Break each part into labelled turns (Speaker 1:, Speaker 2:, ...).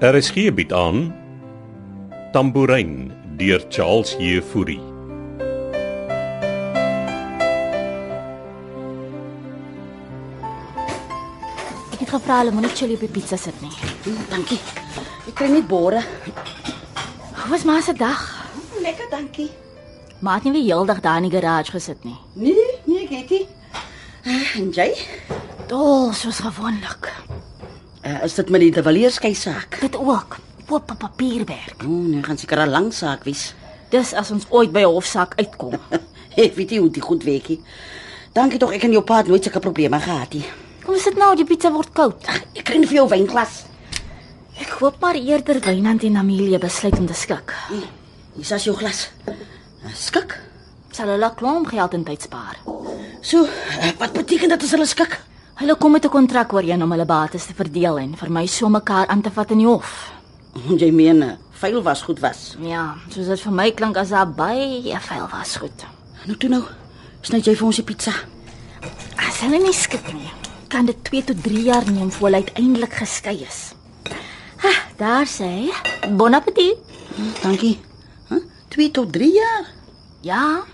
Speaker 1: RSG bied Er aan Tambourin deur Charles Jefouri.
Speaker 2: Ek het gevra hulle moenie chili op die pizza sit nie.
Speaker 3: Mm, Dankie. Ek kry net bore.
Speaker 2: Hoe was maar se dag?
Speaker 3: Lekker, dankie.
Speaker 2: Maar het nie weer heeldag daar in die garage gesit nie.
Speaker 3: Nee, nee, Getty. Uh, en jy?
Speaker 2: Dol soos gewoonlik.
Speaker 3: Uh, is dit met die De Villiers keisaak?
Speaker 2: Dit ook. Oop papierwerk.
Speaker 3: O, oh, nou gaan seker 'n lang saak wees.
Speaker 2: Dis as ons ooit by 'n hofsaak uitkom.
Speaker 3: Ek weet nie hoe dit goed werkie. Dankie tog ek en jou pa het nooit sulke probleme gehad nie.
Speaker 2: Kom sit nou, die pizza word koud.
Speaker 3: Ag, Ek kry net vir jou wynglas.
Speaker 2: Ek hoop maar eerder Wynand en Amelia besluit om te skik.
Speaker 3: Hier, Hier is jou glas. Uh, Skik.
Speaker 2: Sal hulle 'n klomp geld en tyd spaar.
Speaker 3: So, uh, wat beteken dit as hulle skik?
Speaker 2: Hulle kom met 'n kontrak ooreen om hulle bates te verdeel en vir my so mekaar aan te vat in die hof.
Speaker 3: Jy meen, uh, vuil was goed was.
Speaker 2: Ja, soos dit vir my klink as daar baie veel was goed.
Speaker 3: Nou toe nou. Sny jy vir ons die pizza?
Speaker 2: As hulle nie skik nie, kan dit 2 tot 3 jaar neem voor hulle uiteindelik geskei is. Ha, daar sê hy. Bon appetit.
Speaker 3: Mm, Dankie. Huh? 2 tot 3 jaar.
Speaker 2: Ja,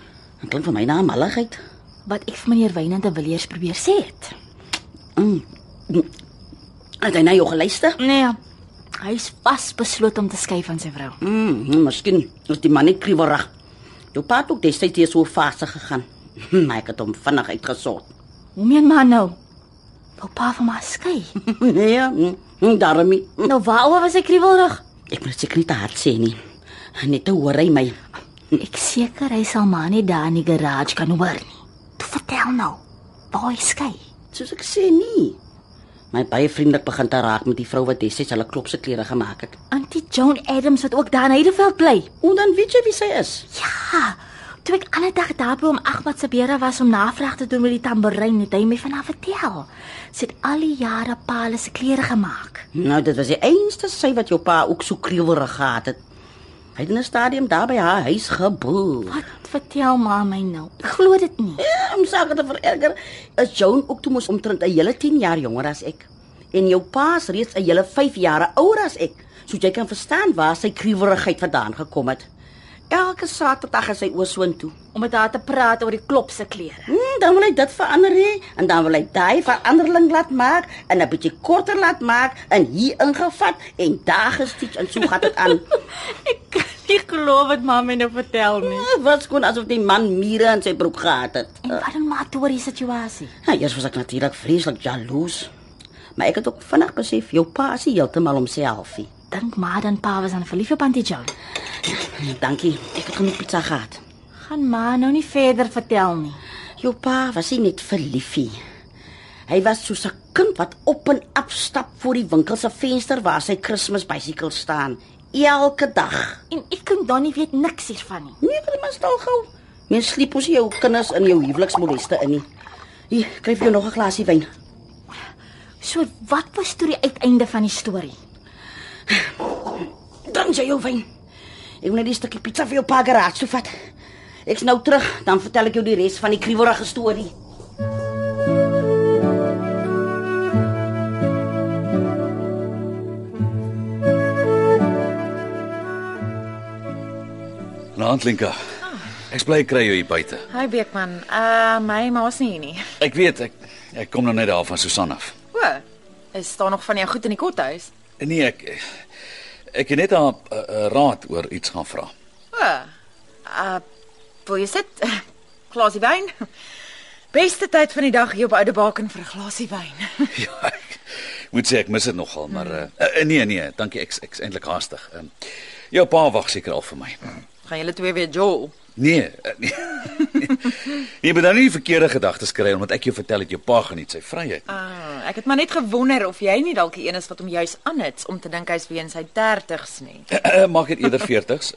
Speaker 3: Dit klink vir my na 'n malligheid.
Speaker 2: wat ek vir meneer Wynand te Villiers probeer sê het.
Speaker 3: Het hy na jou geluister?
Speaker 2: Nee. Hy's vasbeslote om te skei van sy vrou.
Speaker 3: Mm, miskien is die man net kriwerig. Jou pa het ook destyds hier so fase gegaan. Maar ek het hom vinnig uitgesort.
Speaker 2: Hoe meen maar nou? Wou pa van my skei.
Speaker 3: nee, mm, mm, daarom nie.
Speaker 2: nou waaroor was ek kriewelrig?
Speaker 3: Ek moet seker nie te hard sê nie. Net te hoor hy my.
Speaker 2: Ek seker hy sal maar net daar in die garage kan hoor nie. Toe vertel nou. Waar hy skei.
Speaker 3: Soos ek sê nie. My baie vriendelik begin te raak met die vrou wat destyds hulle klopse klere gemaak het.
Speaker 2: Auntie Joan Adams wat ook daar in Heideveld bly.
Speaker 3: Hoe dan weet jy wie sy is?
Speaker 2: Ja. Toe ek ander dag daarby om Ahmad se bere was om navraag te doen met die tamboerijn, het hy my van haar vertel. Sy het al die jare paal se klere gemaak.
Speaker 3: Nou, dit was die enigste sy wat jou pa ook so kriewelrig gehad het. Hy het in 'n stadium daar by haar huis geboel.
Speaker 2: Wat vertel ma my nou? Ek glo dit nie.
Speaker 3: Ja, om sake te vererger, is Joan ook toe mos omtrent 'n hele 10 jaar jonger as ek. En jou pa is reeds 'n hele 5 jaar ouer as ek. So jy kan verstaan waar sy kruiwerigheid vandaan gekom het. Elke Saterdag is hy oor soontoe.
Speaker 2: Om met haar te praat oor die klop se klere.
Speaker 3: Hmm, dan wil hy dit verander hê en dan wil hy daai verandering laat maak en 'n bietjie korter laat maak en hier ingevat en daar gestitch en so gaan dit aan.
Speaker 2: Ek kan nie glo wat ma my nou vertel nie.
Speaker 3: Ah, Wat skoon asof die man mure in sy broek gehad het.
Speaker 2: En wat doen ma toe oor die situasie?
Speaker 3: Ja, eers was ek natuurlik vreeslik jaloes. Maar ek het ook vinnig besef jou pa is nie heeltemal homself nie.
Speaker 2: Dink maar dan pa was aan verlief op Auntie Joan.
Speaker 3: Dankie. Ek het genoeg pizza gehad.
Speaker 2: Gaan ma nou nie verder vertel nie.
Speaker 3: Jou pa was nie net verliefie. Hy was soos 'n kind wat op en af stap voor die winkel se venster waar sy Kersfees bicycle staan, elke dag.
Speaker 2: En ek kon dan nie weet niks hiervan nie.
Speaker 3: Nee, dit is nog gou. Mens sleep ons nie jou kinders in jou huweliksmoleste in nie. Hier, kry vir jou nog 'n glasie wyn.
Speaker 2: So wat was toe die uiteinde van die storie?
Speaker 3: Dan jy jou wyn. Ek moet net die stukkie pizza vir jou pa geraak toe vat. Ek's nou terug, dan vertel ek jou die res van die kriewelrige storie.
Speaker 4: Naand Lenka. Ek bly kry jou hier buite.
Speaker 5: Hi Beekman. Uh my ma's nie hier nie.
Speaker 4: Ek weet ek ek kom nou net daar van Susan af.
Speaker 5: O, is daar nog van jou goed in die kothuis?
Speaker 4: Nee, ek ek het net haar uh, uh, raad oor iets gaan vra.
Speaker 5: O. Uh wil jy sit? Glasie wyn. Beste tyd van die dag hier op Oude Baken vir 'n glasie wyn.
Speaker 4: ja, ek moet sê ek mis dit nogal, maar uh, uh, nee nee, dankie ek ek's eintlik haastig. Um, jou pa wag seker al vir my.
Speaker 5: Gaan julle twee weer jol.
Speaker 4: Nee. Uh, nee. jy moet nou nie verkeerde gedagtes kry omdat ek jou vertel het jou pa geniet sy vryheid.
Speaker 5: Uh, ek het maar net gewonder of jy nie dalk die een is wat hom juis aanhits om te dink hy's weer in sy 30's nie.
Speaker 4: Maak dit eerder 40s.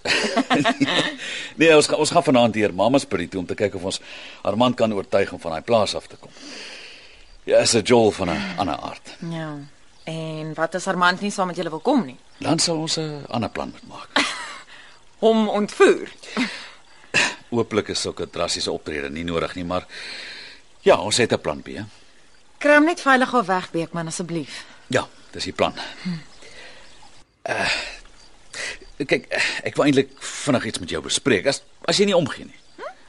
Speaker 4: nee, ons gaan ons gaan vanaand hier Mama Spirit toe om te kyk of ons Armand kan oortuig om van daai plaas af te kom. Ja, is 'n jol van 'n ander aard.
Speaker 5: Ja. En wat as Armand nie saam met julle wil kom nie?
Speaker 4: Dan sal ons 'n ander plan moet maak.
Speaker 5: Hom ontvoer.
Speaker 4: Ooplik is sulke drastiese optrede nie nodig nie, maar ja, ons het 'n plan B. hè.
Speaker 5: Kram net veilig al weg Beekman asseblief.
Speaker 4: Ja, dis die plan. Kyk, ek wil eintlik vinnig iets met jou bespreek as as jy nie omgee nie.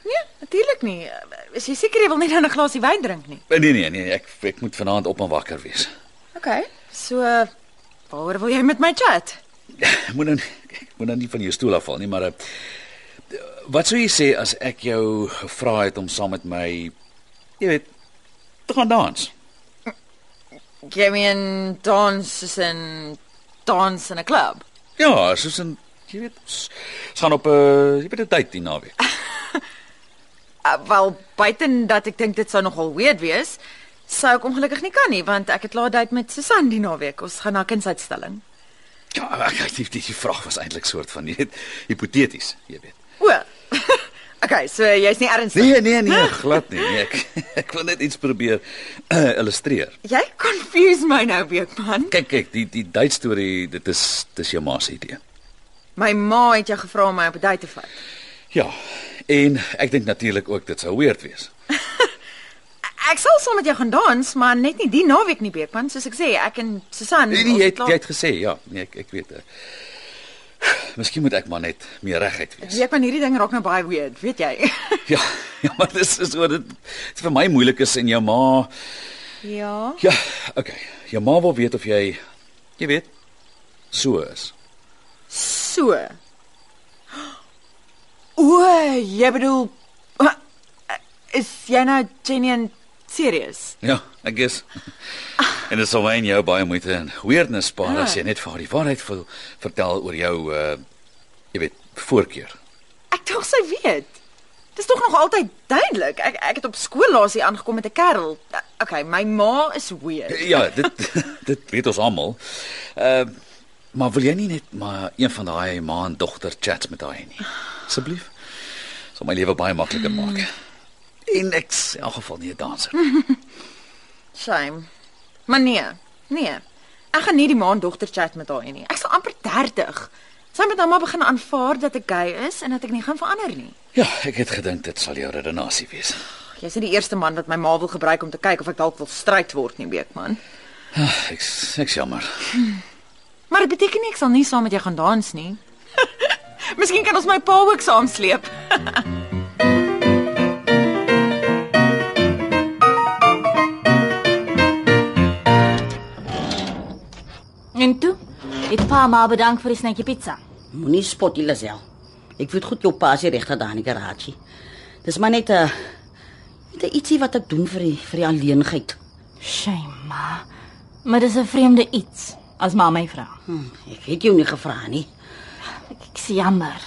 Speaker 5: Nee, natuurlik nie. Eh, Is jy seker jy wil nie nou 'n glasie wyn drink nie?
Speaker 4: Nee nee nee, ek ek moet vanaand op en wakker wees.
Speaker 5: OK. So eh, waaroor wil jy met my chat?
Speaker 4: Moet dan ek moet dan nie van jou stoel afval nie, maar eh, wat sou jy sê as ek jou gevra het om saam met my jy weet te gaan dans?
Speaker 5: Jy meen dans soos in dans in 'n klub.
Speaker 4: Ja, soos 'n jy weet ons ons gaan op 'n jy weet 'n date die naweek.
Speaker 5: Uh, wel buiten dat ek dink dit sou nogal weird wees, sou ek ongelukkig nie kan nie want ek het laat date met Susan die naweek. Ons gaan na kunsuitstalling.
Speaker 4: Ja, ek dink die, die vraag was eintlik soort van jy weet hipoteties, jy weet.
Speaker 5: O. OK, so jy's nie ernstig.
Speaker 4: Nee, nee, nee, glad nie. Nee, ek ek wil net iets probeer uh, illustreer.
Speaker 5: Jy confuse my nou, Beekman.
Speaker 4: Kyk, kyk, die die date storie, dit is dis jou ma se idee.
Speaker 5: My ma het jou gevra om my op 'n date te vat.
Speaker 4: Ja, en ek dink natuurlik ook dit sou weird wees.
Speaker 5: Ek sal saam met jou gaan dans, maar net nie die naweek nie, Beekman, soos ek sê, ek en Susan.
Speaker 4: Nee, nee, jy
Speaker 5: ons
Speaker 4: het, jy het gesê, ja, nee, ek ek weet. Uh, miskien moet ek maar net meer reguit wees.
Speaker 5: Beekman, hierdie ding raak nou baie weird, weet jy?
Speaker 4: Ja, ja, maar dis is oor dit dit vir my moeilik is en jou ma.
Speaker 5: ja.
Speaker 4: Ja, okay. Jou ma wil weet of jy jy weet so is.
Speaker 5: So. O, jy bedoel is jy nou genuine serious?
Speaker 4: Ja, I guess. En dit sal my en jou baie moeite en weirdness spaar as jy net vir haar die waarheid wil vertel oor jou uh jy weet, voorkeur.
Speaker 5: Ek dink sy weet. Dis tog nog altyd duidelik. Ek ek het op skool laas hier aangekom met 'n kerel. Okay, my ma is weird.
Speaker 4: Ja, dit dit weet ons almal. Ehm uh, maar wil jy nie net maar een van daai ma en dogter chats met daai nie? Asseblief. Sal my lewe baie makliker maak. En ek is in elk geval nie 'n danser.
Speaker 5: Shame. Maar nee. Nee. Ek gaan nie die ma en dogter chat met haar hê nie. Ek sal amper 30. Sy moet nou maar begin aanvaar dat ek gay is en dat ek nie gaan verander nie.
Speaker 4: Ja, ek het gedink dit sal jou redenasie wees.
Speaker 5: Jy's nie die eerste man wat my ma wil gebruik om te kyk of ek dalk wil stryd word nie, Beekman.
Speaker 4: Ek ek jammer.
Speaker 5: Maar dit beteken nie ek sal nie saam met jou gaan dans nie. Miskien kan ons my pa ook saamsleep.
Speaker 2: En toe het pa maar bedank vir die snitjie pizza.
Speaker 3: Moenie spot nie, Lisel. Ek weet goed jou pa se regter daar in die garage. Dis maar net 'n net 'n ietsie wat ek doen vir die vir die alleenheid.
Speaker 2: Shame, ma. Maar dis 'n vreemde iets as ma my vra.
Speaker 3: Hm, ek het jou nie gevra nie.
Speaker 2: Ek, ek sê jammer.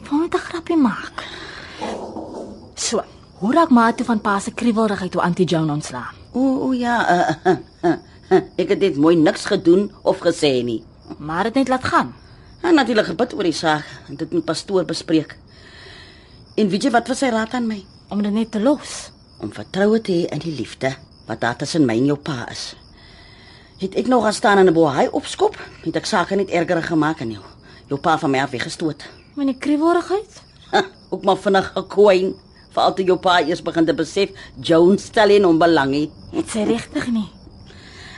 Speaker 2: Ek wou net 'n grappie maak. So, hoe raak ma toe van pa se kriewelrigheid toe Auntie Joan ontslaan?
Speaker 3: O, o ja, uh, uh, uh, uh, ek het dit mooi niks gedoen of gesê nie.
Speaker 2: Maar dit net laat gaan.
Speaker 3: En natuurlik gebid oor die saak en dit met pastoor bespreek. En weet jy wat was sy raad aan my?
Speaker 2: Om dit net te los.
Speaker 3: Om vertroue te hê in die liefde wat daar tussen my en jou pa is. Het ek nog gaan staan en 'n boei opskop, het ek sake net erger gemaak en jou, jou pa van my af weggestoot.
Speaker 2: Met die kriewelrigheid?
Speaker 3: Ha, ook maar vinnig gekoin. Veral toe jou pa eers begin te besef Jones stel in hom belang nie.
Speaker 2: Het sy regtig nie.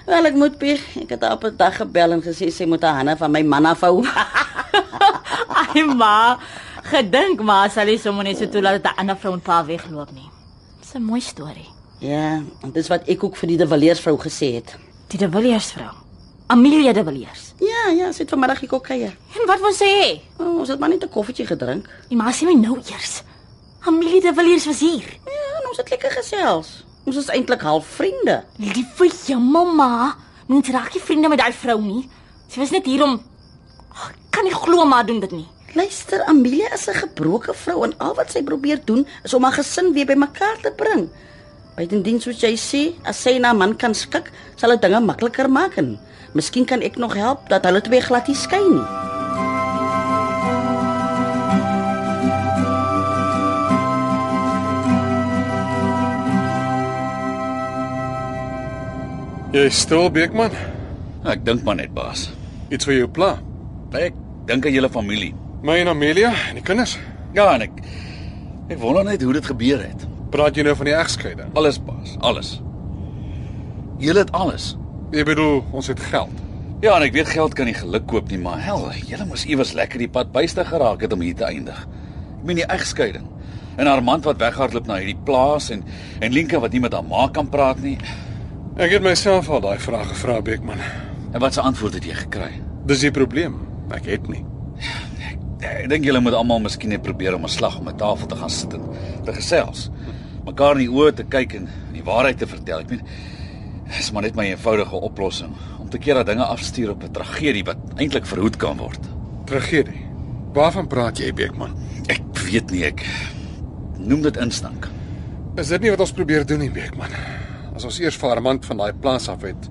Speaker 3: Wel ek moet bieg. Ek het haar op 'n dag gebel en gesê sy moet haar hande van my man afhou.
Speaker 2: Ai ma, gedink maar sal hy sommer net so toe laat dat 'n ander vrou en pa wegloop nie. Dis 'n mooi storie.
Speaker 3: ja, en dis wat ek ook vir die De Villiers vrou gesê het.
Speaker 2: Die De Villiers vrou. Amelia De Villiers.
Speaker 3: Ja, ja, sy het vanmiddag hier kom kuier.
Speaker 2: En wat wil sy hê?
Speaker 3: Oh, ons het maar net 'n koffietjie gedrink.
Speaker 2: Die ma sê my nou eers. Amelia De Villiers was hier.
Speaker 3: Ja, en ons het lekker gesels. Ons is eintlik half vriende.
Speaker 2: Liewe jemma ma, moet raak nie vriende met daai vrou nie. Sy was net hier om Ag, ek kan nie glo maar doen dit nie.
Speaker 3: Luister, Amelia is 'n gebroke vrou en al wat sy probeer doen is om haar gesin weer bymekaar te bring. Bytendien soos jy sê, as sy na 'n man kan skik, sal dit dinge makliker maak en miskien kan ek nog help dat hulle twee glad nie skei nie.
Speaker 6: Jy is stil Beekman.
Speaker 4: Ek dink maar net baas.
Speaker 6: Iets vir jou pla.
Speaker 4: Ek dink aan julle familie.
Speaker 6: My en Amelia en die kinders.
Speaker 4: Ja, en ek ek wonder net hoe dit gebeur het.
Speaker 6: Praat jy nou van die egskeiding?
Speaker 4: Alles baas, alles. Julle het alles.
Speaker 6: Jy bedoel ons het geld.
Speaker 4: Ja, en ek weet geld kan nie geluk koop nie, maar hel, julle moes iewers lekker die pad byste geraak het om hier te eindig. Ek meen die egskeiding. En Armand wat weghardloop na hierdie plaas en en Linka wat nie met haar ma kan praat nie.
Speaker 6: Ek het myself al daai vraag gevra, Beekman.
Speaker 4: En wat se antwoord het jy gekry?
Speaker 6: Dis die probleem. Ek het nie.
Speaker 4: Ja, Ek dink julle moet almal miskien net probeer om 'n slag om 'n tafel te gaan sit en te gesels. Mekaar in die oë te kyk en en die waarheid te vertel. Ek meen, dis maar net my eenvoudige oplossing om te keer dat dinge afstuur op 'n tragedie wat eintlik verhoed kan word.
Speaker 6: Tragedie. Waarvan praat jy, Beekman?
Speaker 4: Ek weet nie ek noem dit instink.
Speaker 6: Is dit nie wat ons probeer doen nie, Beekman? As ons eers vir Armand van daai plaas af het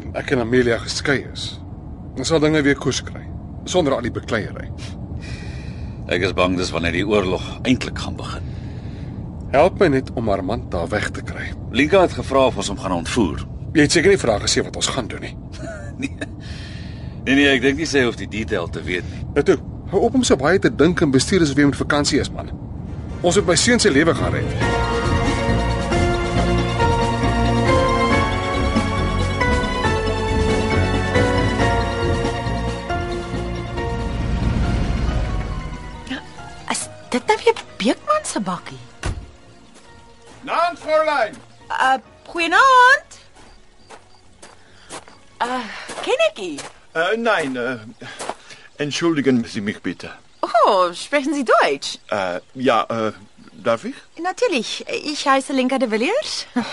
Speaker 6: en ek en Amelia geskei is, dan sal dinge weer koers kry sonder al die bekleierery.
Speaker 4: Ek is bang dis wanneer die oorlog eintlik gaan begin.
Speaker 6: Help my net om Armand daar weg te kry.
Speaker 4: Linka het gevra of ons hom gaan ontvoer.
Speaker 6: Jy het seker nie vrae gesê wat ons gaan doen nie.
Speaker 4: Nee nee, ek dink nie sy hoef die detail te weet nie.
Speaker 6: Nou toe, hou op om so baie te dink en bestuur asof jy met vakansie is, man. Ons moet my seun se lewe gaan red.
Speaker 5: Is dit nou weer Beekman se bakkie?
Speaker 6: Naam Fräulein.
Speaker 5: Uh, goeienaand. Uh, ken ek u?
Speaker 7: Äh, nein, äh, entschuldigen Sie mich bitte.
Speaker 5: Oh, sprechen Sie Deutsch?
Speaker 7: Äh, ja, äh, darf ich?
Speaker 5: Natürlich. Ich heiße Linka de Villiers.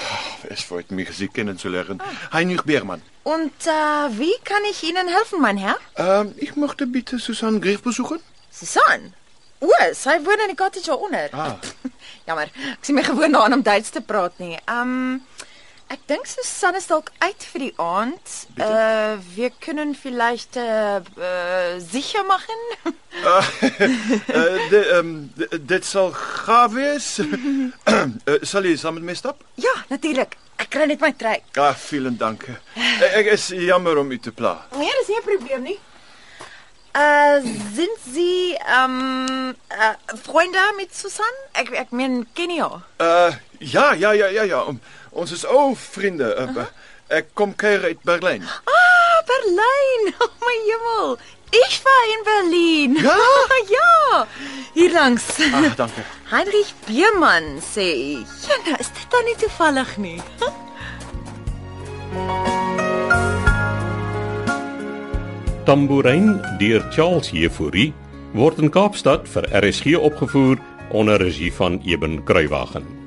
Speaker 7: Es freut mich, Sie kennenzulernen. Heinrich Beermann.
Speaker 5: Und äh, wie kann ich Ihnen helfen, mein Herr?
Speaker 7: Ähm, ich möchte bitte Susanne Griff besuchen.
Speaker 5: Susan. O, sy woon in die cottage onder.
Speaker 7: Ah.
Speaker 5: Jammer. Ek sien my gewoon daaraan om Duits te praat nie. Um ek dink Susan is dalk uit vir die aand. Uh wir können vielleicht äh, äh sicher machen.
Speaker 7: Äh, de, ähm, de- dit zal gaaf is. Äh, Zal je samen mee stappen?
Speaker 5: ja, natuurlik. Ek kry net my trek.
Speaker 7: Ah, vielen dank. Eh, Ik is jammer om u te plagen.
Speaker 5: Nee, dis nie 'n probleem nie. Uh sind Sie ähm äh, Freunde mit Susan? Ek ek meen ken jy haar?
Speaker 7: Eh, ja, ja, ja, ja, ja. Um, ons is ook vrienden. Eh, eh, Ik kom keren uit Berlijn.
Speaker 5: Ah, Berlyn. Oh my hemel. Ich war in Berlin.
Speaker 7: Ja?
Speaker 5: ja. Hier langs.
Speaker 7: Ah, dank u.
Speaker 5: Heinrich Biermann sê ek. Ja, nou is dit dan nie toevallig nie.
Speaker 1: Tambourine deur Charles Heffouri word in Kaapstad vir RSG opgevoer onder regie van Eben Kruiwagen.